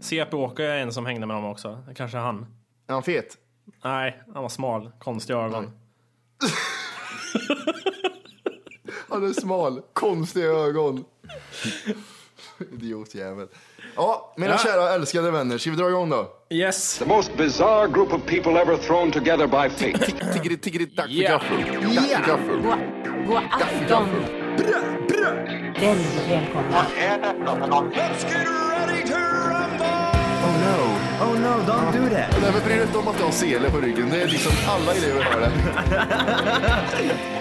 CP-Åke är en som hängde med dem också. Det Kanske är han. Är han fet? Nej, han var smal. Konstiga ögon. Han är smal, konstiga ögon. Idiotjävel. Ja, mina Ja. kära älskade vänner, ska vi dra igång då? Yes. The most bizarre group of people ever thrown together by fate. Tiggeri, tiggeri, dack för Yeah. gaffel. Dack för gaffel. God, god afton! Väldigt välkomna. Oh no. Oh no, don't do that! Nej men bry dig inte om att du har sele på ryggen. Det är liksom alla elever har det.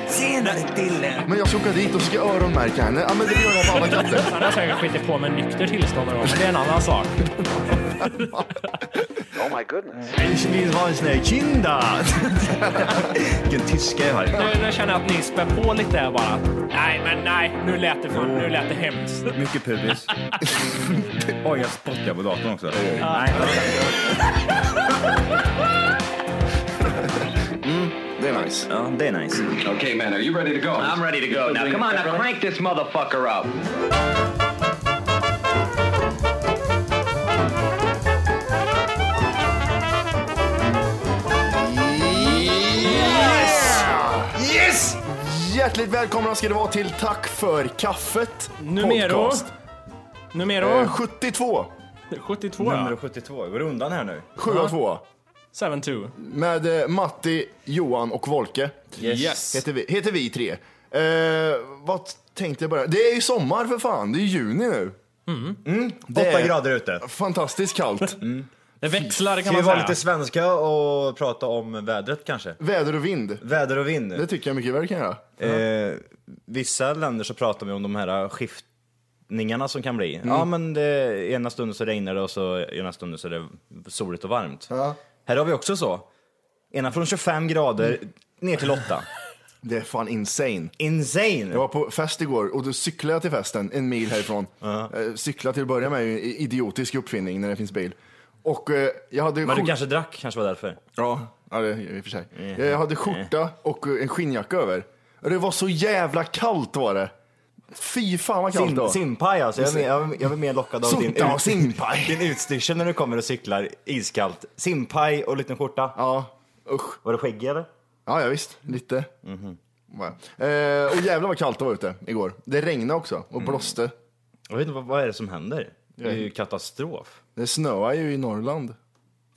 Senare Dille! Men jag ska åka dit och ska öronmärka henne. Ja men det gör jag på alla katter. Han har säkert skitit på med nykter tillstånd någon gång, men det är en annan sak. Ich will ha sina kinder! Vilken tyska jag har. Nu, nu känner jag att ni spär på lite här bara. Nej, men nej. Nu lät det, för, nu lät det hemskt. Mycket pubis. Oj, jag spottar på datorn också. Nej, Det är nice. ja, det är nice. Okay, man, are you ready to go? I'm ready to go. Now, come on, now crank this motherfucker up. Yes! Hjärtligt välkomna ska det vara till Tack för kaffet. Numero. podcast. Eh, Numero 72. Eh, 72, Nummer ja. 72, går det undan här nu? 7 av 2. 72. Med eh, Matti, Johan och Volke. Yes. Heter vi, heter vi tre. Eh, vad tänkte jag bara? Det är ju sommar för fan. Det är juni nu. Mm, det 8 är grader ute. Fantastiskt kallt. Det växlar kan Ska vi man vara säga. lite svenska och prata om vädret kanske? Väder och vind. Väder och Det vind. tycker jag mycket väl kan göra. Eh, vissa länder så pratar vi om de här skiftningarna som kan Mm. bli. Ja, men det, ena stunden så regnar det och så ena stunden så är det soligt och varmt. Ja. Här har vi också så. Ena från 25 grader Mm. ner till 8. Det är fan insane. Insane! Jag var på fest igår och då cyklade jag till festen en mil härifrån. Eh, Cykla till att börja med är ju en idiotisk uppfinning när det finns bil. Och eh, jag hade Men du skjort- kanske drack, kanske var därför. Ja, Eh. ja det, i och för sig. Jag hade skjorta och eh, en skinnjacka över. Och Det var så jävla kallt var det. Fy fan vad kallt det Sim, var. simpaj alltså, jag är, mer- jag, är, jag är mer lockad av din, Sota och ut- simpaj. din utstyrsel när du kommer och cyklar iskallt. Simpaj och liten skjorta. Ja, usch. Var det skäggig eller? Ja, ja visst, lite. Ja. Eh, och jävlar vad kallt det var ute igår. Det regnade också och blåste. Jag vet inte, vad, vad är det som händer? Det är ju katastrof. Det snöade ju i Norrland.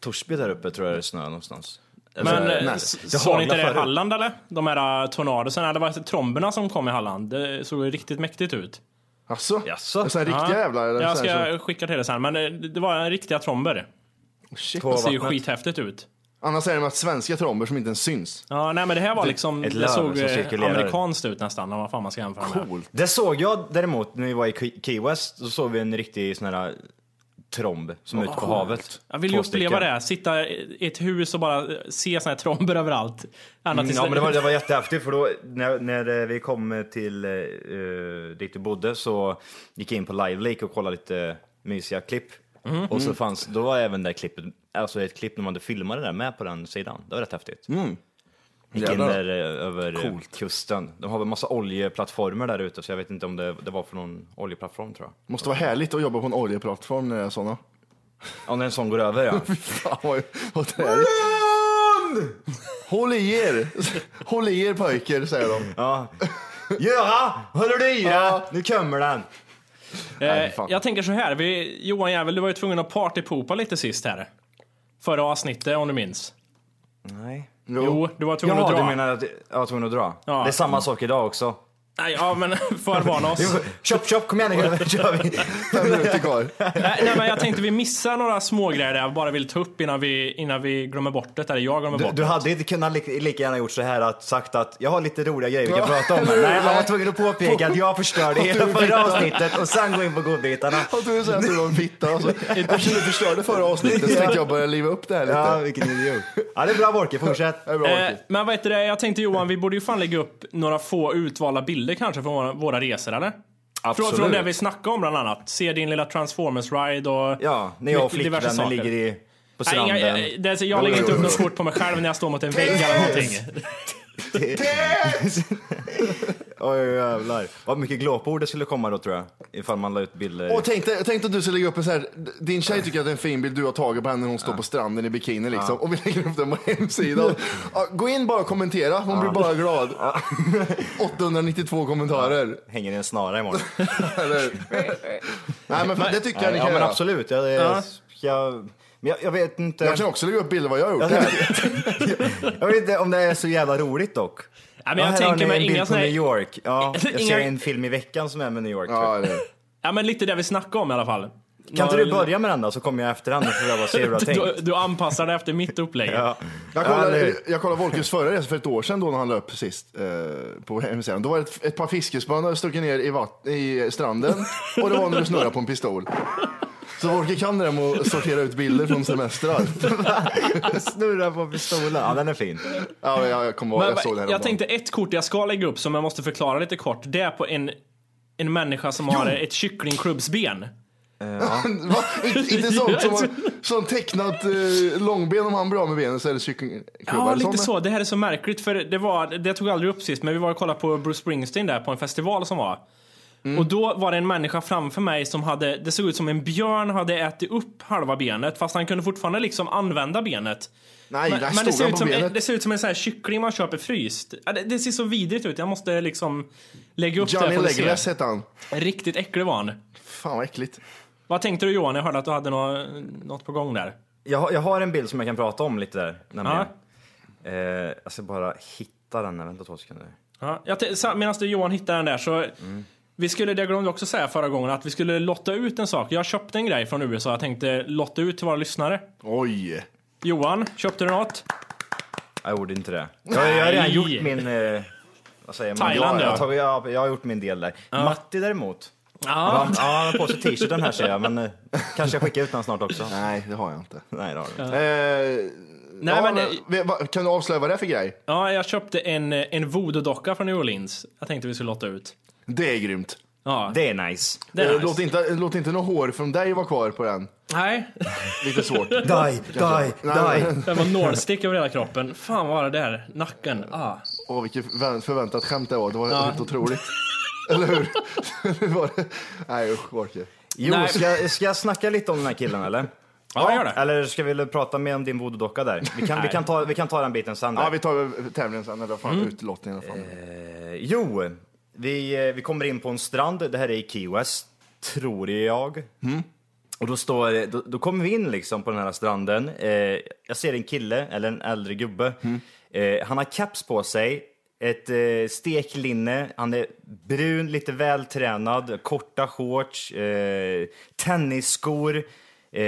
Torsby där uppe tror jag det är snö någonstans. Men eh, nej. s- Det såg ni inte haglar det i förut. Halland eller? De här eh, tornadosen, det var tromberna som kom i Halland. Det såg ju riktigt mäktigt ut. Jaså? Jaså? Sådana riktiga Ja. jävlar? Eller Jag så här ska skicka till det sen, men eh, det var en riktiga tromber. som- Shit. På Alltså, Det ser ju vattnet. skithäftigt ut. Annars är det med att svenska tromber som inte ens syns. Ja, nej men det här var liksom, ett det löv såg som eh, cirkulerar. amerikanskt ut nästan, om vad fan man ska jämföra med. Coolt. Det såg jag däremot när vi var i Key- Key West, så såg vi en riktig sån här eh, tromb som är ute på havet. Jag vill ju Två stycken. uppleva det, sitta i ett hus och bara eh, se såna här tromber överallt. Ända Mm, tills Ja men det var, det var jättehäftigt för då när, när eh, vi kom till eh, dit du bodde så gick jag in på Live Lake och kollade lite mysiga klipp. Mhm. Och Mm. så fanns, då var även det klippet, alltså ett klipp när man hade filmat det där med på den sidan. Det var rätt häftigt. Mm. Gick in Jävlar. där eh, över eh, kusten. De har väl massa oljeplattformar där ute så jag vet inte om det, det var från någon oljeplattform tror jag. Måste vara härligt att jobba på en oljeplattform när det är sådana. Ja när en sån går över ja. Fan vad, vad träligt. Håll i er! Håll i er pojkar, säger de. ja. Göra! Håller du i det? Ja. Nu kommer den! Nej, Eh, fan. jag tänker så här, vi, Johan Jävel, du var ju tvungen att partypoopa lite sist här. Förra avsnittet om du minns. Nej. Jo, du var tvungen Jaha, att dra. du menar att jag var tvungen att dra? Ja. Det är samma sak idag också. Nej, ja men förvarna oss. Chop, chop, kom igen nu gubben, kör vi! Fem minuter kvar. Eh, nej, nej, men jag tänkte vi missar några smågrejer där jag bara vill ta upp innan vi, innan vi glömmer bort det, eller jag glömmer Du, bort du det. hade inte kunnat li- lika gärna gjort så här att sagt att jag har lite roliga grejer vi kan Ja, prata om. eller hur? Nej, han var tvungen att påpeka att jag förstörde hela du förra avsnittet och sen gå in på godbitarna. Jag tror du säger att du var en fitta. Alltså. Eftersom du förstörde förra avsnittet så tänkte jag börja liva upp det här lite. Ja, vilken idiot. Ja, det är bra Wolke, fortsätt. Det är bra, Eh, Orkid. men vad heter det, jag tänkte Johan, vi borde ju fan lägga upp några få utvalda bilder kanske från våra, våra resor eller? Från, från det vi snackade om bland annat. Se din lilla Transformers-ride och... Ja, när jag och mycket- diverse flickvännen saker. ligger i, på Nej, stranden. inga, eh, det, jag lägger inte upp något kort på mig själv när jag står mot en vägg eller någonting. Oj, jävlar. Vad mycket glåpord det skulle komma då tror jag. Ifall man la ut bilder. Och tänk dig, tänk dig att du ska lägga upp en så här, din tjej tycker att det är en fin bild du har tagit på henne när hon står på stranden i bikini liksom. Och vi lägger upp den på hemsidan. Ja, Gå in bara och kommentera, hon blir bara glad. 892 kommentarer. Hänger i en snara imorgon. Eller? Nej men för, det tycker jag ni ja, kan men göra. absolut. Jag, jag, jag, men jag, jag vet inte. Jag kan också lägga upp bilder vad jag har gjort. Jag vet inte om det är så jävla roligt dock. Ja, men jag här har tänker ni mig en inga bild på såna New här, York. Ja, jag Inga- ser en film i veckan som är med New York. tror jag. Ja, det är- Ja men lite det vi snackade om i alla fall. Kan inte du börja med den då så kommer jag efterhand och får jag bara se hur du har Du, tänkt. du anpassar det efter mitt upplägg. Ja. Jag Ja, kollade, eller hur? jag kollade Wolkers förra resa för ett år sedan då när han löp sist eh, på hemsidan. Då var det ett, ett par fiskespön hade stuckit ner i, vatt, i stranden och det var när du snurrade på en pistol. Så Wolker kan det där med att sortera ut bilder från semestrar. Snurra på pistolen. Ja, den är fin. Ja, jag, jag kommer ihåg, Men, jag såg det jag, här om dagen. tänkte ett kort jag ska lägga upp som jag måste förklara lite kort. Det är på en, en människa som har ett kycklingklubbsben. Va? Inte- Inte sånt som, har- som tecknat eh, långben om han är bra med benen så är det kycklingklubba. Ja, eller lite sånt. så. Det här är så märkligt för det var, det tog jag aldrig upp sist, men vi var och kollade på Bruce Springsteen där på en festival som var. Mm. Och då var det en människa framför mig som hade, det såg ut som en björn hade ätit upp halva benet fast han kunde fortfarande liksom använda benet. Nej, Men, där men det, stod ser han ut på som, en- benet. det ser ut som en sån här kyckling man köper fryst. Ja, Det, det ser så vidrigt ut, jag måste liksom lägga upp det Johnny här får ni Legless se. hette han. Riktigt äcklig var han. Fan vad äckligt. Vad tänkte du Johan? Jag hörde att du hade nå- något på gång där. Jag, har- jag har en bild som jag kan prata om lite där. nämligen. Ja. Eh, jag ska bara hitta den. här. Vänta två sekunder. Ja, jag te- sa- medan du Johan hittar den där så... Vi skulle, det glömde jag också säga förra gången, att vi skulle lotta ut en sak. Jag köpte en grej från USA jag tänkte lotta ut till våra lyssnare. Oj. Johan, köpte du något? Jag gjorde inte det. Jag, jag har redan Nej. gjort min... Eh, vad säger man? Thailand, ja. ja. Jag, tar- jag, jag har gjort min del där. Matti däremot. Ja. Han, ja, han har på sig t-shirten här ser jag, men eh, kanske jag skickar ut den snart också. Nej, det har jag inte. Nej, det har du inte. Eh, Nej, ja, men- men, vi- va- kan du avslöja vad det är för grej? Ja, jag köpte en, en voodoo-docka från New Orleans. Jag tänkte vi skulle lotta ut. Det är grymt. Ja, Det är nice. det är Eh, nice. Låt, inte, låt inte något hår från dig vara kvar på den. Nej, Lite svårt. Die, die, Nej, die. det var nålstick över hela kroppen. Fan vad var det där? Nacken. Ah. Åh, vilket vä- förväntat skämt det var. Det var helt otroligt. Eller hur? Hur var det? Nej usch, Walker. Jo, Nej. ska, ska jag snacka lite om den här killen eller? Ja, gör det. Eller ska vi prata mer om din voodoo-docka där? Vi kan, vi, kan ta, vi kan ta den biten sen. Där. Ja, vi tar eh, tävlingen sen. Eller fan, utlottning i alla fall. Eh, Jo, vi, eh, vi kommer in på en strand. Det här är i Key West, tror jag. Och då, står, det- då, då kommer vi in liksom på den här stranden. Eh, jag ser en kille, eller en äldre gubbe. Mm. Eh, han har caps på sig, ett eh, steklinne. Han är brun, lite vältränad, korta shorts, eh, tennisskor, eh,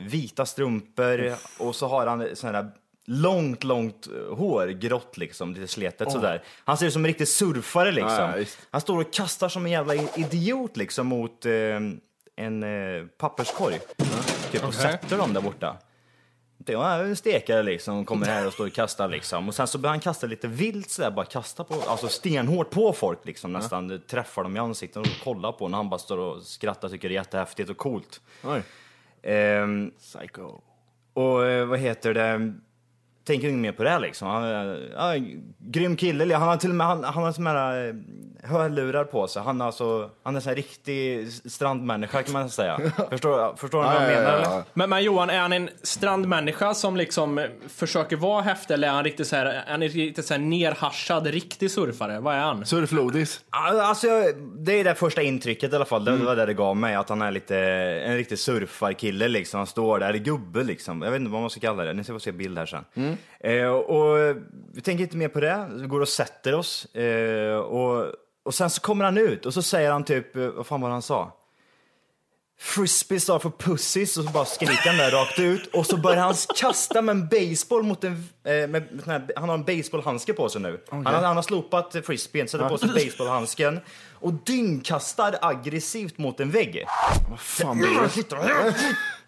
vita strumpor och så har han sådana här långt, långt eh, hår, grått liksom, lite sletet sådär. Han ser ut som en riktig surfare liksom. Ja, ja, visst. han står och kastar som en jävla i- idiot liksom mot eh, en eh, papperskorg. Typ, och sätter dem där borta. Det var en stekare liksom, kommer här och står och kastar liksom. Och sen så börjar han kasta lite vilt sådär, bara kasta på, alltså stenhårt på folk liksom nästan. Träffar dem i ansiktet och kollar på när han bara står och skrattar, tycker det är jättehäftigt och coolt. Oj. Ehm, Psycho. och eh, vad heter det? Tänker inget mer på det här, liksom. Han, eh, ja, en grym kille. eller Han har till och med, han, han har till och med eh, hörlurar på sig. Han, är alltså, han är en sån här riktig s- strandmänniska kan man säga. förstår, förstår ni vad Ja, jag ja, menar? ja, eller? ja. Men, men Johan, är han en strandmänniska som liksom eh, försöker vara häftig eller är han riktigt så här, är han riktigt så här nerhaschad, riktig surfare? Vad är han? Surflodis. Ja, Alltså, jag- det är det första intrycket i alla fall. Det var det det gav mig. Att han är lite, en riktig surfarkille liksom. Han står där, eller gubbe liksom. Jag vet inte vad man ska kalla det. Ni ska få se bild här sen. Eh, och vi tänker inte mer på det. Vi går och sätter oss. Eh, och, och sen så kommer han ut och så säger han typ, eh, vad fan var det han sa? Frisbee står för pussies och så bara skriker han där rakt ut och så börjar han kasta med en baseball mot en... eh, Med, med sån här, han har en baseballhandske på sig nu. Han, har- han har slopat frisbeen, sätter på sig baseballhandsken och dyngkastar aggressivt mot en vägg. Fan, det är-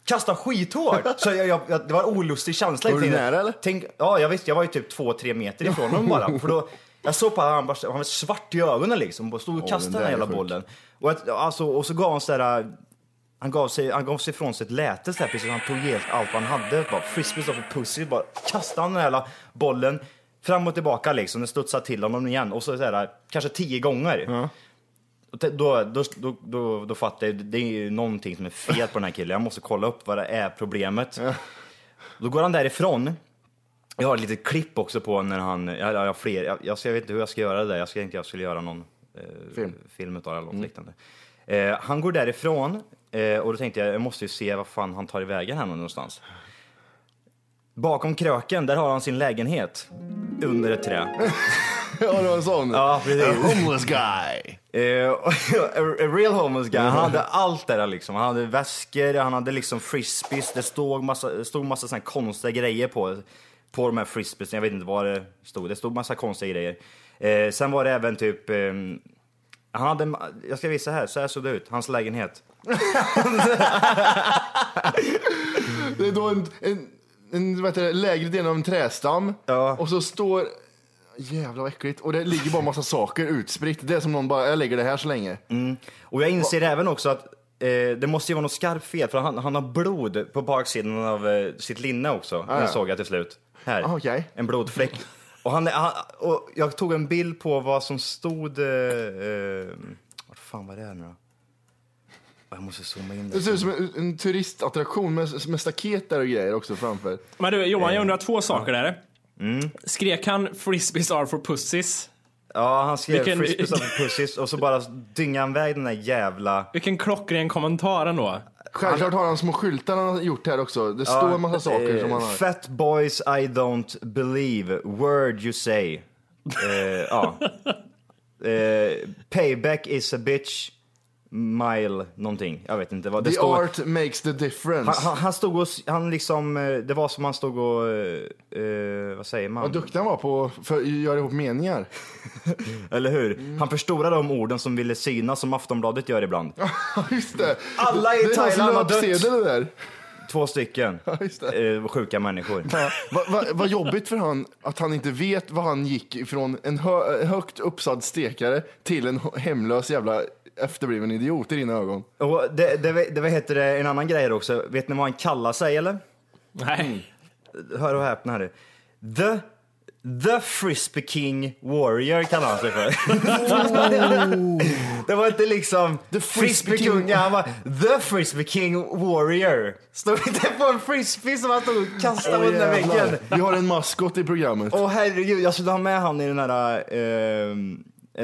Kastar skithårt! Så jag, jag, jag, det var en olustig känsla. Var du Jag tänkte, nära, eller? Tänk, ja, jag visste, jag var ju typ två, tre meter ifrån honom bara. För då, jag såg på han, bara, han var svart i ögonen liksom. Och stod och kastade den den där är här jävla sjuk. bollen. Och, att, alltså, och så gav han så här... Han gav, sig, han gav sig ifrån sig ett läte så här, precis. Han tog helt allt vad han hade. Bara frisbees och pussy. Bara kastade han den här jävla bollen. Fram och tillbaka liksom, den studsar till honom igen och så, så här, kanske tio gånger. Och te- Då, då, då, då, då fattar jag, det är ju någonting som är fel på den här killen. Jag måste kolla upp vad det är problemet. Då går han därifrån. Jag har ett litet klipp också på när han, jag, jag har fler, jag, jag, jag vet inte hur jag ska göra det där. Jag ska inte jag skulle göra någon eh, Film. film utav det eller något liknande. Eh, han går därifrån eh, och då tänkte jag, jag måste ju se vad fan han tar i vägen här någonstans. Bakom kröken, där har han sin lägenhet. Under ett träd. Ja, det var en sån. Ja, precis. A homeless guy. Eh, och- a, a real homeless guy, han hade allt där liksom. Han hade väskor, han hade liksom frisbees, det stod massa, stod massa såna här konstiga grejer på, på de här frisbeesen. Jag vet inte vad det stod, det stod massa konstiga grejer. Eh, sen var det även typ, eh, han hade, ma- jag ska visa här, så här såg det ut, hans lägenhet. Det är då en, en, en vad heter det, lägre del av en trästam Ja. och så står... Jävlar vad äckligt. Och det ligger bara massa saker utspritt. Det är som någon bara, jag lägger det här så länge. Och jag inser även också att eh, det måste ju vara något skarpt fel, för han, han har blod på baksidan av eh, sitt linne också. Ah, ja. Den såg jag till slut. Här, Ah, okej. en blodfläck. och, han, är- han, och jag tog en bild på vad som stod... Eh, eh, vad fan var det här nu då? Ah, Jag måste zooma in Det det. ser ut som en, en turistattraktion med, med staket där och grejer också framför. Men du, Johan, jag undrar två saker där. Skrek han “Frisbees are for pussies”? Ja, han skrev Vilken- frisbees och pussis och så bara dyngade han iväg den där jävla... Vilken klockren kommentar ändå. Självklart har han små skyltar han har gjort här också. Det står en massa saker som han har. Fat boys I don't believe, word you say. Eh, ja. Eh, payback is a bitch, mile någonting. Jag vet inte vad det The står. art makes the difference. Han, han, han stod och, s- han liksom, eh, det var som han stod och, eh, eh, vad säger man? Vad duktig han var på för att göra ihop meningar. Eller hur? Mm. Han förstorade de orden som ville synas som Aftonbladet gör ibland. Just det. Alla det i är hans Thailand har dött. löpsedel det där. Två stycken just eh, sjuka människor. Vad va, vad jobbigt för han att han inte vet vad han gick från en hö, högt uppsatt stekare till en hemlös jävla efterbliven idiot i dina ögon. Och det, det, det, vad heter det, en annan grej här också. Vet ni vad han kallar sig eller? Nej. hör och häpna här. The, the Frisbee King Warrior kallar han sig för. det var inte liksom Oh. The Frisbee King. Frisbeekungen, han var The Frisbee King Warrior. Stod inte på en frisbee som han stod och kastade under Jävlar. väggen. Vi har en maskot i programmet. Åh herregud, jag skulle ha med han i den här, eh, i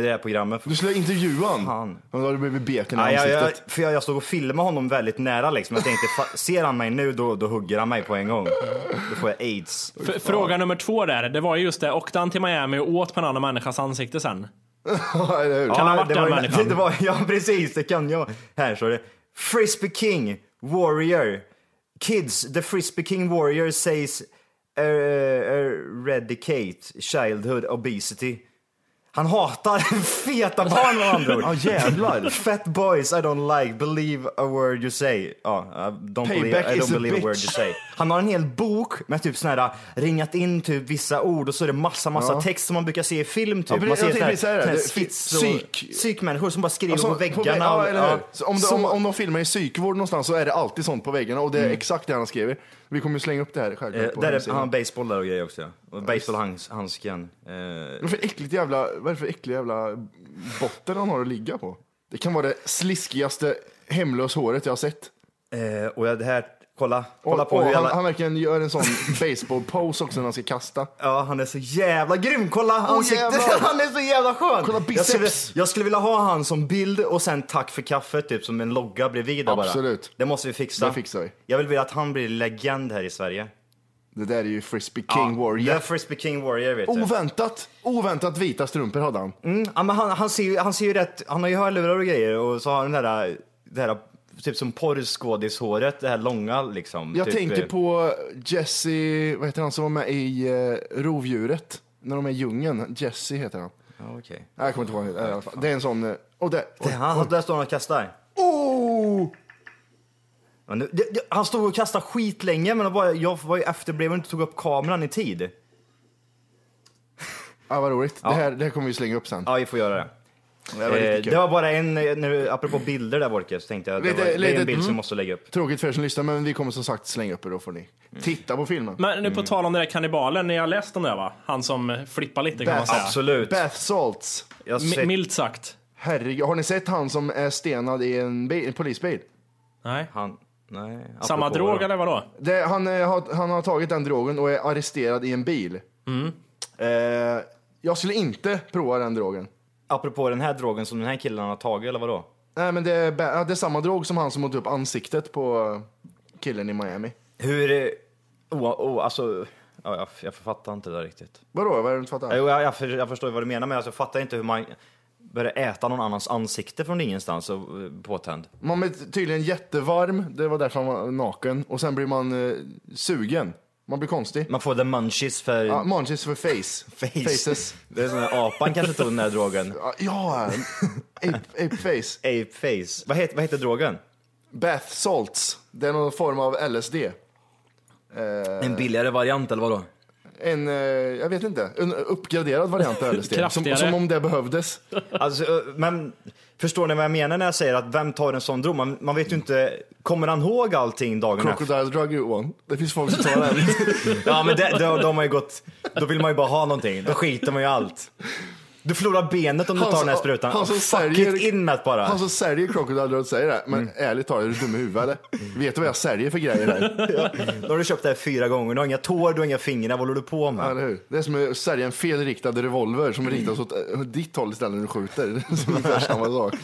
det här programmet. Du skulle intervjua han. Fan. Då hade du blivit beken i Ja, jag, jag, ansiktet. för jag, jag stod och filmade honom väldigt nära liksom. Jag tänkte, fa- ser han mig nu då, då hugger han mig på en gång. Då får jag aids. F- Fråga nummer två där, det var ju just det. Åkte han till Miami och åt på en annan människas ansikte sen? Ja, eller hur? Kan han ha varit det den var, ju- människan? det var, Ja, precis, det kan jag. Här står det. Frisbee King, Warrior. Kids, the Frisbee King Warrior says er- eradicate childhood obesity. Han hatar feta barn med andra ord. Ja jävlar. Fat boys I don't like, believe a word you say. Ja, I don't Payback believe, I is don't a believe a word bitch. you say. Han har en hel bok med typ sån här ringat in typ vissa ord och så är det massa, massa Ja. text som man brukar se i film typ. Ja, men man jag tänkte sån här- säga det. sån här Det- skits och- psyk. psykmänniskor som bara skriver Alltså, på på vä- väggarna. ja, och- eller hur? ja. Så om, de, Så- om, om de filmar i psykvård någonstans så är det alltid sånt på väggarna och det är exakt det han skriver. Vi kommer ju slänga upp det här självklart. Mm. Eh, på där är, hemsidan. han har baseball där och grejer också. Ja. Och Baseballhandsken. Eh, Vad för äckligt jävla, vad är det för äcklig jävla botten han har att ligga på? Det kan vara det sliskigaste hemlös håret jag har sett. eh, och jag- det här, kolla. Och, kolla på och hur han, jävla... han verkligen gör en sån baseball-pose också när han ska kasta. Ja, han är så jävla grym. Kolla ansiktet. jävlar. han är så jävla skön. Kolla jag, biceps. skulle, jag skulle vilja ha han som bild och sen tack för kaffet, typ som en logga bredvid där bara. Absolut. Det måste vi fixa. Det fixar vi. Jag vill vilja att han blir legend här i Sverige. Det där är ju Frisbee King The Warrior. Frisbee King Warrior vet du. Oväntat, oväntat vita strumpor hade han. Mm, Ja, men han, han, ser ju, han ser ju rätt, han har ju hörlurar och grejer och så har han den där, det här typ som porrskådishåret, det här långa liksom. Jag typ, tänker eh, på Jesse, vad heter han som var med i eh, Rovdjuret? När de är i djungeln. Jesse heter han. Ja, okej. Nej, Jag kommer inte ihåg vad han heter. i alla fall. Det är en sån... eh, Och där. Det- Han, han, där står han och kastar. Oh! Ja, nu- det- det- Han stod och kastade skit länge men det var, jag var ju efterbliven och inte tog upp kameran i tid. Ah, vad roligt. Det, här, det här kommer vi slänga upp sen. Ja, vi får göra det. Det var Eh, riktigt kul. det var bara en, eh, nu, apropå bilder där Borke, så tänkte jag att det, Lite- var, det är lite- mm. en bild som måste lägga upp. Tråkigt för er som lyssnar, men vi kommer som sagt slänga upp er då får ni Mm. titta på filmen. Men nu på tal om den där kannibalen, ni har läst om det va? Han som eh, flippar lite kan man Bath- säga. Absolut. Bath salts. Jag har Mi- sett- Milt sagt. Herregud, har ni sett han som är stenad i en, bil, en polisbil? Nej. Han, nej, Samma apropå- drog eller vadå? Det, han, eh, har, han har tagit den drogen och är arresterad i en bil. Mm. Eh, jag skulle inte prova den drogen. Apropå den här drogen som den här killen har tagit eller vadå? Nej, men det är, ba- ja, det är samma drog som han som åt upp ansiktet på killen i Miami. Hur, eh, oh, oh, alltså, ja, jag, jag fattar inte det där riktigt. Vadå, vad är det du inte fattar? Jo, jag, jag, för, jag förstår ju vad du menar men alltså, jag fattar inte hur man börjar äta någon annans ansikte från ingenstans och eh, påtänd. Man är tydligen jättevarm, det var därför han var naken. Och sen blir man eh, sugen. Man blir konstig. Man får the munchies för Ja, munchies för face. Mm. face. Faces. Det är som när apan kanske tog den där drogen. Ja, Ja, ape, ape face. Ape face. Vad heter, vad heter drogen? Bath salts. Det är någon form av LSD. En billigare variant eller vadå? Eh, En, eh, jag vet inte, en uppgraderad variant av LSD. som, Kraftigare. som om det behövdes. Alltså, eh, men förstår ni vad jag menar när jag säger att vem tar en sån drog? Man, man vet ju inte, kommer han ihåg allting dagen efter? Crocodile drug you one. Det finns folk som tar den. Ja men det, då, de har ju gått, då vill man ju bara ha någonting, då skiter man ju i allt. Du förlorar benet om du Han tar som- den här sprutan. han som Oh, fuck säljer- it, in med det bara. Han som säljer Crocodile drug säger det. Mm. Men ärligt talat, är du dum i huvudet eller? Vet du vad jag säljer för grejer här? Då har du köpt det här fyra gånger, du har inga tår, du har inga fingrar, vad håller du på med? Eller hur? Det är som att sälja en felriktad revolver som riktas åt eh, ditt håll istället när du skjuter. Det är som ungefär samma sak.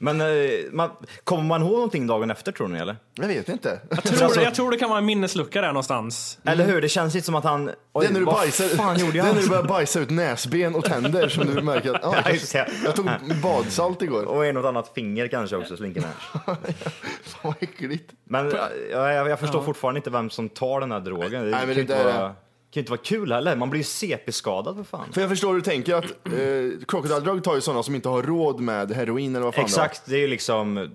Men eh, man, kommer man ihåg någonting dagen efter tror ni eller? Jag vet inte. Tror, alltså- jag tror det kan vara en minneslucka där någonstans. Eller hur? Det känns inte som att han... Mm. Det Oj, är när du, vad bajsar, fan gjorde jag? det är när du börjar bajsa ut näsben och tänder som du märker att ja, just det. jag, jag tog badsalt igår. Och en och ett annat finger kanske också slinker ner. Fan vad äckligt. Men jag, jag, jag förstår fortfarande inte vem som tar den här drogen. Det men kan det ju inte där vara, är- kan ju inte vara kul heller. Man blir ju CP-skadad för fan. För jag förstår hur du tänker att eh, Crocodile Drug tar ju sådana som inte har råd med heroin eller vad fan Exakt, det är ju liksom... Men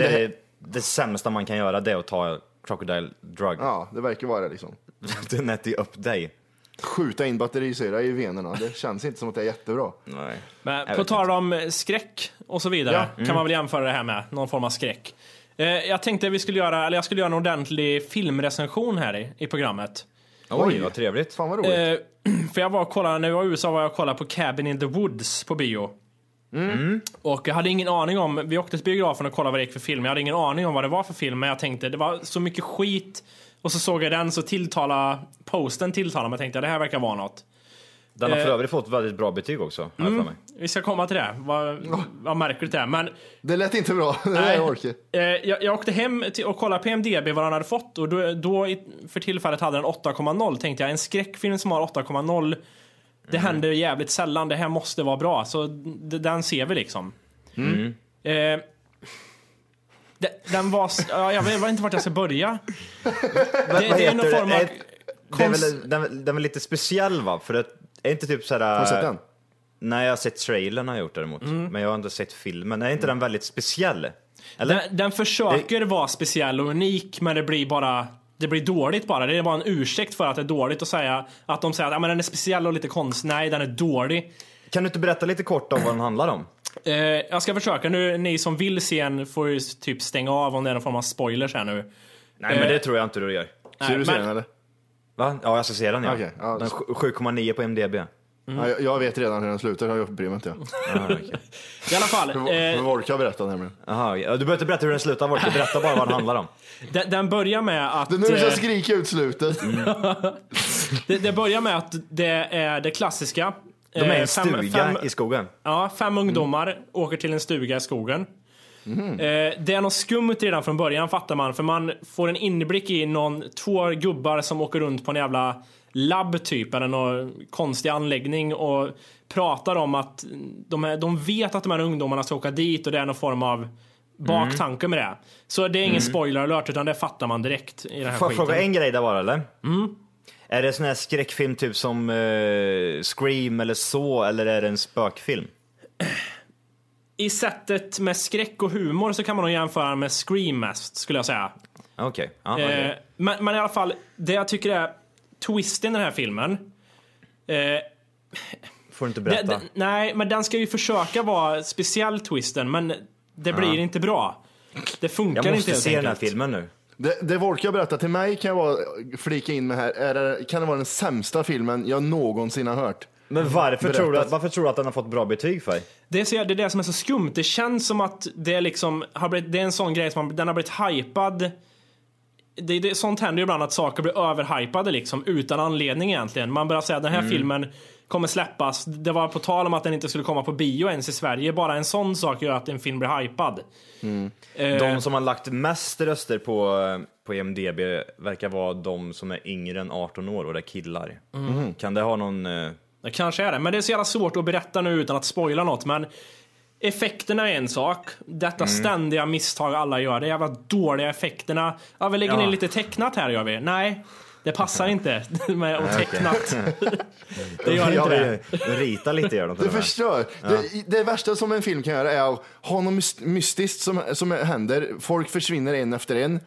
det, det här- är det sämsta man kan göra, det är att ta crocodile drug. det var. Ja, det verkar vara det liksom. Den äter ju upp dig. Skjuta in batterisyra i venerna, det känns inte som att det är jättebra. Nej. Men Jag på vet tal om eh, skräck och så vidare kan man väl jämföra det här med någon form av skräck. Eh, jag tänkte vi skulle göra, eller jag skulle göra en ordentlig filmrecension här i, i programmet. Oj, Oj. vad trevligt. Fan vad roligt. Eh, för jag var och kollade, när jag var i USA var jag och kollade på Cabin in the Woods på bio. Mm. Och jag hade ingen aning om, vi åkte till biografen och kollade vad det gick för film. Jag hade ingen aning om vad det var för film, men jag tänkte det var så mycket skit. Och så såg jag den, så tilltala, posten tilltalade mig. Jag tänkte det här verkar vara något. Den har för Eh. Mm. övrigt fått väldigt bra betyg också, har jag för mig. Vi ska komma till det, vad, vad märkligt det är. Men det lät inte bra, det Nej. är orkar. Eh, jag, jag åkte hem till och kollade på IMDB vad den hade fått och då, då i, för tillfället hade den 8,0 tänkte jag. En skräckfilm som har 8,0 det Mm. händer jävligt sällan. Det här måste vara bra. Så d- den ser vi liksom. Mm. Eh, de, den var... s- Ja, jag vet inte vart jag ska börja. det, vad det är någon heter form det? av... Ett- Den är, väl, den, den är väl lite speciell va? För det är inte typ sådär... Har du Eh, sett den? Nej, jag har sett trailern har jag gjort däremot. Mm. Men jag har inte sett filmen. Är Mm. inte den väldigt speciell? Eller? Den, den försöker vara speciell och unik men det blir bara det blir dåligt bara. Det är bara en ursäkt för att det är dåligt att säga att de säger att ja, men den är speciell och lite konstig. Nej, den är dålig. Kan du inte berätta lite kort om vad den handlar om? Eh, jag ska försöka nu. Ni som vill se en får ju typ stänga av om det är någon form av spoilers här nu. Nej, men det tror jag inte du gör. Ser du men- serien eller? Va? Ja, jag ska se den ja. Okej, ja. Den sj- 7,9 på MDB. Mm. Ja, jag, jag vet redan hur den slutar, jag bryr mig inte. Eh, Jag. I alla fall. eh, För orkar berätta nämligen. Aha, ja, du behöver inte berätta hur den slutar, Volker. Berätta bara vad den handlar om. den, den börjar med att... Det är nu du ska eh, skrika ut slutet. det, det börjar med att det är det klassiska. De är i Eh, en fem- stuga fem- i skogen. Ja, Mm. fem ungdomar åker till en stuga i skogen. Eh, det är något skumt redan från början fattar man, för man får en inblick i någon, två gubbar som åker runt på en jävla labb typ, eller någon konstig anläggning och pratar om att de, är, de vet att de här ungdomarna ska åka dit och det är någon form Mm. av baktanke med det. Så det är ingen spoiler alert, utan det fattar man direkt i Mm. den här Får jag skiten. fråga en grej där bara eller? Är det sån här skräckfilm typ som eh, Scream eller så, eller är det en spökfilm? I sättet med skräck och humor så kan man nog jämföra med Scream mest, skulle jag säga. Okej. Ja, Eh, okej. men, men i alla fall, det jag tycker är twisten i den här filmen. Eh, Får du inte Det- berätta. det- nej, men den ska ju försöka vara speciell twisten, men det blir inte bra. Det funkar jag inte måste helt se den här enkelt. filmen nu. Det, det Volke har berättat till mig kan jag bara flika in med här, är det, kan det vara den sämsta filmen jag någonsin har hört. Men varför tror, du Berätta. att, varför tror du att den har fått bra betyg för? Det är, så, det är det som är så skumt. Det känns som att det, är liksom, har blivit, det är en sån grej som man, den har blivit hypad. Det, det, sånt händer ju ibland att saker blir överhypade liksom, utan anledning egentligen. Man börjar säga att den här filmen kommer släppas. Det var på tal om att den inte skulle komma på bio ens i Sverige. Bara en sån sak gör att en film blir hypad. Eh, De som har lagt mest röster på, eh, på IMDB verkar vara de som är yngre än 18 år och det är killar. Mm. Kan det ha någon... eh, Det kanske är det, men det är så jävla svårt att berätta nu utan att spoila något. Men effekterna är en sak. Detta Mm. ständiga misstag alla gör, de jävla dåliga effekterna. Ja, vi lägger Ja. in lite tecknat här gör vi. Nej, det passar inte med att tecknat. det gör inte Ja, det. de Rita lite gör de till Det och med. förstör. Det, det värsta som en film kan göra är att ha något mys- mystiskt som, som händer. Folk försvinner en efter en.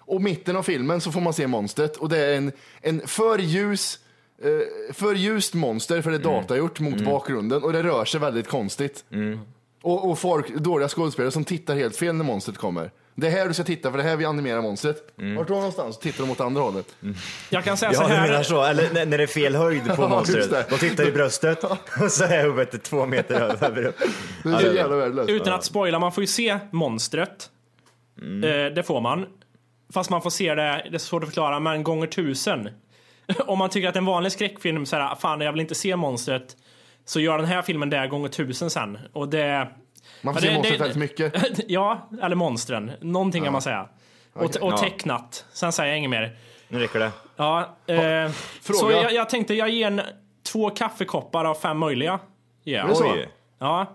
Och mitten av filmen så får man se monstret och det är en, en för ljus eh, för ljust monster, för det är datagjort mot bakgrunden och det rör sig väldigt konstigt. Och, och folk, dåliga skådespelare som tittar helt fel när monstret kommer. Det är här du ska titta för det är här vi animerar monstret. Vart då någonstans? Tittar de åt andra hållet. Jag kan säga så Ja, du menar Alltså, här. så. Eller när- när det är fel höjd på Ja, monstret. just det. De tittar i bröstet och så är huvudet två meter över. Det är så jävla värdelöst. Utan att spoila, man får ju se monstret. Mm. Eh, det får man. Fast man får se det, det är svårt att förklara, men gånger tusen. Om man tycker att en vanlig skräckfilm, så här, fan jag vill inte se monstret. Så gör den här filmen det gånger tusen sen. Och det... Man får Ja, se det- monstret det- väldigt mycket. ja, eller monstren. Någonting kan man säga. Och, och Ja. tecknat. Sen säger jag inget mer. Nu räcker det. Ja, eh, så fråga. jag, jag tänkte jag ger en två kaffekoppar av fem möjliga. Ja. det så? Oj. ja,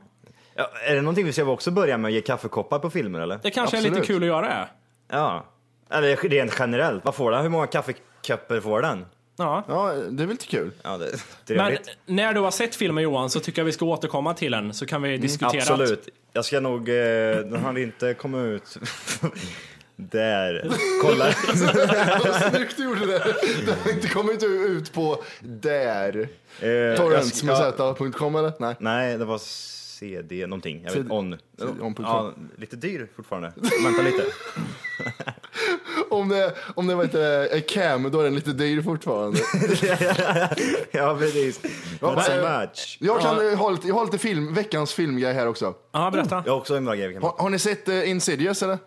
Ja, är det någonting vi ska också börja med? Ge kaffekoppar på filmer eller? det kanske är lite Absolut. kul att göra det. Ja. Eller rent generellt, vad får den? Hur många kaffekoppar får den? Ja. Ja, det är väl lite kul. Ja, det Men trevligt. när du har sett filmen Johan så tycker jag vi ska återkomma till den så kan vi diskutera. att- Absolut. Jag ska nog... Eh, den hann inte komma ut. Där. Kolla. Eh, Snyggt du gjorde det. Det har inte kommit ut på där. Eh, jag Torrents ska- med z.com eller? Nej. Nej, det var CD någonting. Jag vet, CD on. on.com. Ja, lite dyr fortfarande. Vänta lite. Om det, om det var inte är cam, då är den lite dyr fortfarande. ja, precis. Not so much. Jag, kan, eh, ha lite, jag har lite film, veckans filmgrej här också. Ja, berätta. Jag har också en bra grej vi kan Har, har ni sett eh, Insidious eller?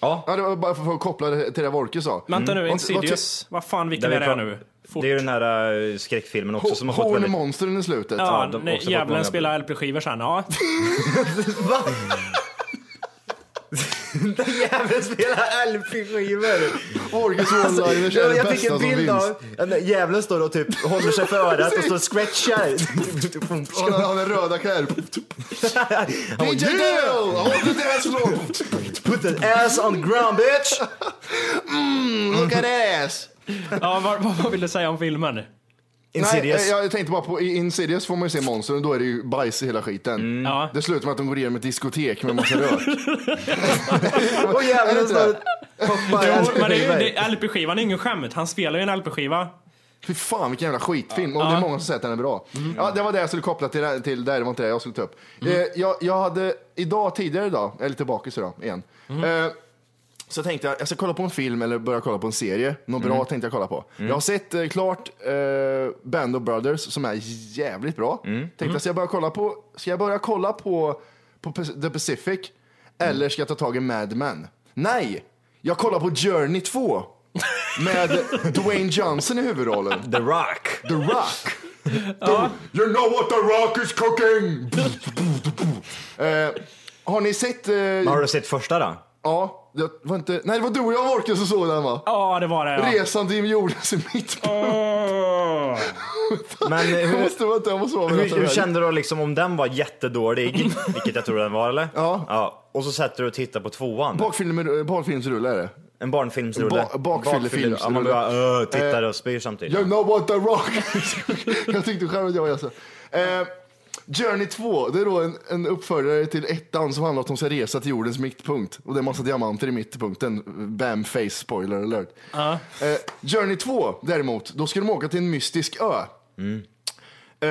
Ja. ja. Det var bara för att koppla det till det Wolke sa. Vänta nu, Vad- vad ty- Insidious. Vad fan, vilken Där är vi det pra- nu? Fort. Det är ju den här eh, skräckfilmen också som har Hon- fått väldigt... Monstren i slutet. Ja, Ja, de har nej, också fått många- djävulen spelar LP-skivor sen. Ja. Jäveln spelar LP-skivor! Wolkes one-liners är det Jag fick bästa som en finns. bild av... ja, Djävulen står och typ håller sig för örat och står och scratchar. Han har- Han har röda kläder. Han DJ bara, Dale! On the dance floor! Put an ass on ground bitch! Look at ass! ja, vad, vad vill du säga om filmen? Insidious. Nej, eh, jag tänkte bara på i Insidious får man ju se monster och då är det ju bajs i hela skiten. Ja. Det slutar med att de går igenom ett diskotek med en massa rök. Och djävulen står och Jo, poppar men det är ju, LP-skivor. det, LP-skivan är ingen skämt. Han spelar ju en LP-skiva. Fy fan vilken jävla skitfilm och det är många som säger att den är bra. Ja, det var det jag skulle koppla till, det- till där, det var inte det jag skulle ta upp. Eh, jag, jag hade idag, tidigare idag, jag är lite bakis idag igen. Eh, så tänkte jag, jag ska kolla på en film eller börja kolla på en serie. Något bra tänkte jag kolla på. Jag har sett eh, klart eh, Band of Brothers som är jävligt bra. Tänkte jag, ska jag börja kolla på, ska jag börja kolla på, på Pac- The Pacific? Eller ska jag ta tag i Mad Men? Nej! Jag kollar på Journey 2 med Dwayne Johnson i huvudrollen. The Rock. The Rock. The, you know what the Rock is cooking! eh, har ni sett... Eh, Har du sett första då? ja, det var inte... Nej, det var du och jag Wolke som såg den va? Ja, det var det. Ja. Resan till jordens i mitt på. Åh. Men Jag hur, måste vara inte, jag måste vara med hur, nästa hur helg. kände du liksom om den var jättedålig, vilket jag tror den var eller? Ja. Och så sätter du och tittar på tvåan. Bakfilmer- Bakfilmsrulle eh, är det. en barnfilmsrulle. Ba- bakfyllefilmsrulle. Bakfylle- Ja, man bara öh, tittar och spyr samtidigt. You know what the rock is Jag tyckte själv att jag var jävla... Eh, Journey 2, det är då en, en uppföljare till ettan som handlar om att de ska resa till jordens mittpunkt. Och det är en massa diamanter i mittpunkten. Bam face spoiler alert. Eh, Journey 2 däremot, då ska de åka till en mystisk ö. Eh,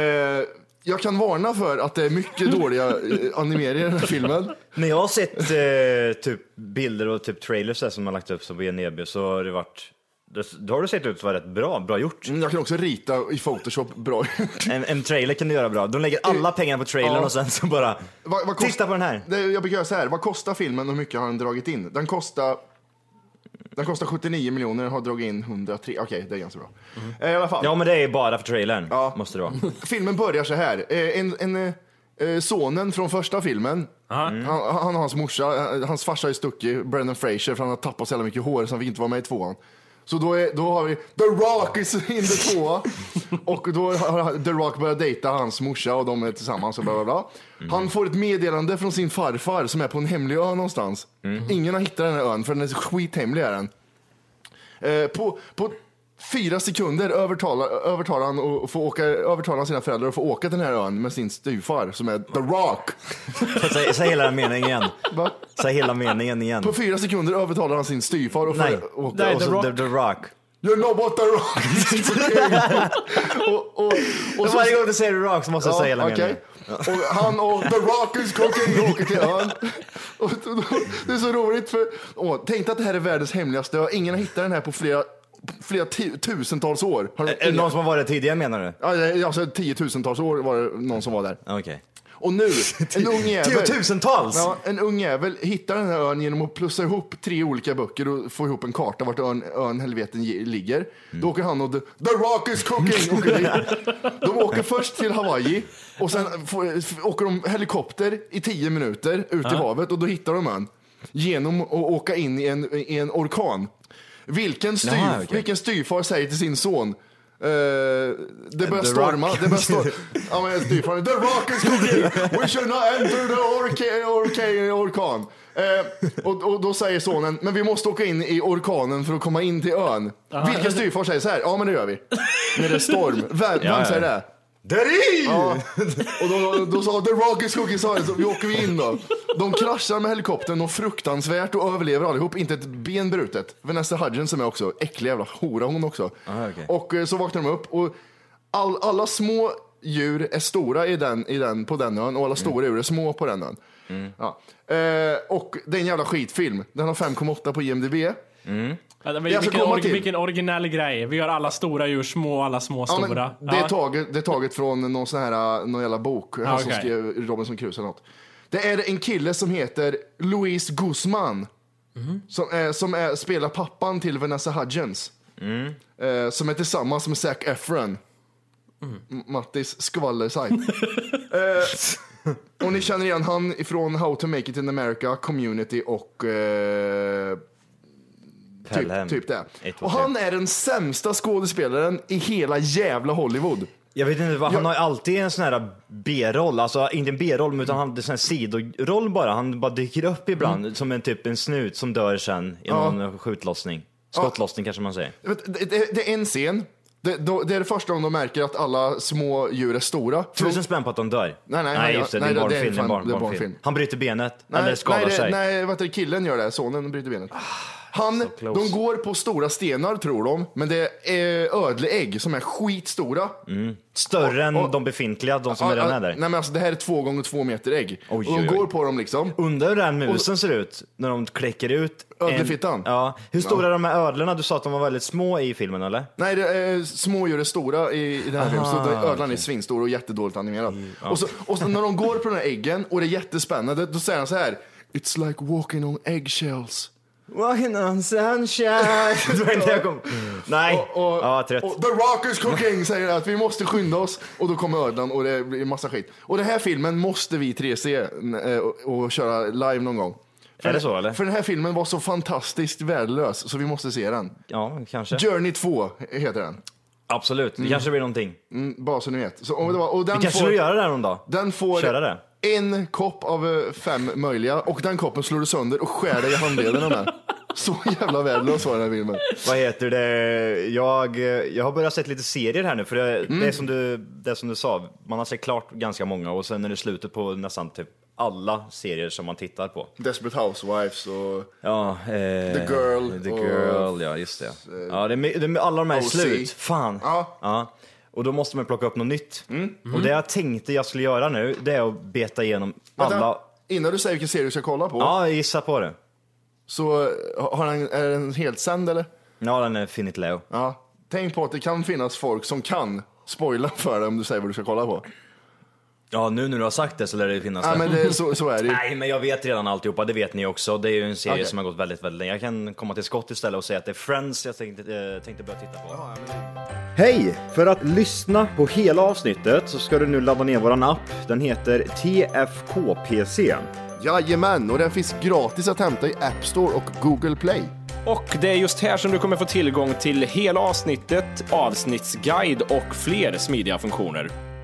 jag kan varna för att det är mycket dåliga eh, animeringar i den här filmen. När jag har sett eh, typ bilder och typ trailers där som man lagt upp som Venebio så E har det varit då har det sett ut att vara rätt bra, bra gjort. Mm, Jag kan också rita i Photoshop bra. En, en trailer kan du göra bra. De lägger alla pengar på trailern Mm. Ja. och sen så bara, Vad- vad kost- titta på den här. Det, jag brukar göra så här, vad kostar filmen och hur mycket har den dragit in? Den kostar, den kostar 79 miljoner, den har dragit in 103. Okej, det är ganska bra. Eh, I alla fall. Mm. Ja men det är bara för trailern, Ja. måste det vara. Filmen börjar så här. Eh, En, en, eh, eh, sonen från första filmen, han, han och hans morsa, eh, hans farsa är stuckig, Brendan Fraser, för han har tappat så jävla mycket hår så han fick inte vara med i tvåan. Så då, är, då har vi The Rock is in the tvåa. Och då har The Rock börjat dejta hans morsa och de är tillsammans och bla bla bla. Han får ett meddelande från sin farfar som är på en hemlig ö någonstans. Ingen har hittat den här ön för den är skithemlig är den. Eh, på, på fyra sekunder övertalar, övertalar, han och får åka, övertalar han sina föräldrar att få åka till den här ön med sin styvfar som är The Rock. Säg, säg hela den meningen igen. Va? Säg hela meningen igen. På fyra sekunder övertalar han sin styvfar och Nej, får åka. Nej, och The så Rock. The, the Rock. You're not what The Rock is. och, och, och så, Varje gång du säger The Rock så måste jag säga hela okej. meningen. Och han och The Rock is cooking åker till ön. Och då- Det är så roligt för, åh, tänk dig att det här är världens hemligaste ö. Ingen har hittat den här på flera, flera ti- tusentals år. Har Är det någon som har varit där tidigare menar du? Ja, det- Alltså tiotusentals år var det någon som var där. Okej. Och nu, en ung jävel. Tiotusentals! Ja, en ung jävel hittar den här ön genom att plussa ihop tre olika böcker och få ihop en karta vart ön, ön helveten ge- ligger. Mm. Då åker han och the, the rock is cooking! Åker dit. de åker först till Hawaii och sen får, f- åker de helikopter i tio minuter ut i havet och då hittar de ön. Genom att åka in i en, i en orkan. Vilken, styr, Jaha, okej. vilken styvfar säger till sin son eh, det börjar The storma, Rock. det börjar storma. Ja, men styvfaren, the rock is cooking! We should not enter the orca- orca- orkan. Eh, och, och då säger sonen, men vi måste åka in i orkanen för att komma in till ön. Vilken styvfar säger så här, ja men det gör vi. När det är storm. Vem, Ja, vem ja. säger det? Deri! Ja. Och då, då sa The Rock is cooking sa det, så vi åker vi in då. De kraschar med helikoptern och fruktansvärt och överlever allihop, inte ett ben brutet. Vanessa Hudgens som är också, äcklig jävla hora hon också. Ah, okej. Och eh, så vaknar de upp och all, alla små djur är stora i den, i den, på den ön och alla Mm. stora djur är små på den ön. Ja. Eh, och det är en jävla skitfilm. Den har 5,8 på IMDB. Ja, det var- Jag ska vilken, komma orgi- till. vilken originell grej. Vi gör alla stora djur små, alla små Ja, men stora. det, är Ja. taget, det är taget från någon sån här, eh, någon jävla bok. Han som okej. skrev Robinson Crusoe eller något. Det är en kille som heter Luis Guzman. Mhm. Som, är, som är, spelar pappan till Vanessa Hudgens. Mm. Eh, som är tillsammans med Zac Efron. Mm. M- Mattis skvallersajt. eh, och ni känner igen han ifrån How to make it in America, Community och eh, Pelham. typ, typ det. Ett, två, Och tre. han är den sämsta skådespelaren i hela jävla Hollywood. Jag vet inte, vad, han har ju alltid en sån här B-roll, alltså inte en B-roll men utan han det är en sån här sidoroll bara. Han bara dyker upp ibland som en typ en snut som dör sen i Mm. Ja. någon skjutlossning. Skottlossning kanske man säger. Jag vet, Det, det, det är en scen. Det, då- det är det första om de märker att alla små djur är stora. För de- Tusen spänn på att de dör. Nej, nej, nej nej, just det, nej, det är en det är barnfilm. Det är fan- en barn, det är barnfilm. barnfilm. Han bryter benet, nej, eller skadar nej, det- sig. Ah, Nej, vad heter det, killen gör det. Sonen bryter benet. Han, close. de går på stora stenar tror de, men det är ödleägg som är skitstora. Större än Och- och- de befintliga, de Mm, som Ah, redan ah, är där. Nej, men alltså, det här är två gånger två meter ägg. Oj, och de oj, oj. går på dem liksom. Undrar hur den musen ser ut när de kläcker ut. en- Ödlefittan? Ja. Hur stora är de här ödlorna? Du sa att de var väldigt små i filmen eller? Nej, det är, smådjur är stora i, i den här filmen, så det- ödlan är svinstor och jättedåligt animerad. Mm, Och, så, och så när de går på de här äggen och det är jättespännande, då säger han så här. It's like walking on eggshells. Walking on sunshine. det var inte jag kom. Nej, Och, ja, trött. och The Rock is cooking säger att vi måste skynda oss och då kommer ödlan och det blir massa skit. Och den här filmen måste vi tre se eh, och, och köra live någon gång. är det så eller? För den här filmen var så fantastiskt värdelös så vi måste se den. Ja, kanske. Journey 2 heter den. Absolut, det kanske blir någonting. Mm, bara så ni vet. Så, och det var, och den Vi kanske får- får... göra det här någon dag. Den får Köra det. en kopp av eh, fem möjliga och den koppen slår du sönder och skär dig i handlederna med. Så jävla värdelös var den här filmen. Vad heter det? Jag, eh, jag har börjat sett lite serier här nu, för det, Mm. det, är som du, det är som du sa, man har sett klart ganska många och sen är det slutet på nästan typ alla serier som man tittar på. Desperate Housewives och Ja, eh, The Girl The och- Girl, ja just det. Ja, det, är my- det är my- alla de här är OC. slut. Fan. Ja. Mm. Ja. Och då måste man plocka upp något nytt. Och det jag tänkte jag skulle göra nu, det är att beta igenom alla... Vänta, innan du säger vilken serie du ska kolla på, Ja, gissa på det. så eh, har den, är den helt sänd eller? Ja, den är Finit Leo. Ja. Tänk på att det kan finnas folk som kan spoila för dig om du säger vad du ska kolla på. Ja, nu när du har sagt det så lär det ju finnas Ja, där. men det, så, så är det ju. Nej, men jag vet redan alltihopa, det vet ni också. Det är ju en serie Okej. som har gått väldigt, väldigt länge. Jag kan komma till skott istället och säga att det är Friends jag tänkte, eh, tänkte börja titta på. Hej! För att lyssna på hela avsnittet så ska du nu ladda ner våran app. Den heter TFKPC. Jajamän, och den finns gratis att hämta i App Store och Google Play. Och det är just här som du kommer få tillgång till hela avsnittet, avsnittsguide och fler smidiga funktioner.